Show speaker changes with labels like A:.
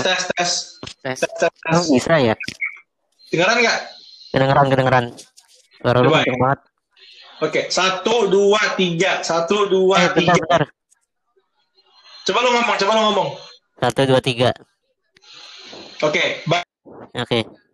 A: Tes, tes, tes.
B: Tes.
A: Tes, tes, tes.
B: Emang bisa ya?
A: Dengeran nggak?
B: Kedengeran, kedengeran. Suara lu
A: Coba
B: kenceng
A: ya.
B: banget.
A: Oke, satu, dua, tiga. Satu, dua,
B: Eh,
A: tiga.
B: bentar, bentar.
A: Coba lo ngomong, coba lo ngomong.
B: Satu, dua, tiga.
A: Oke, ba-
B: Oke.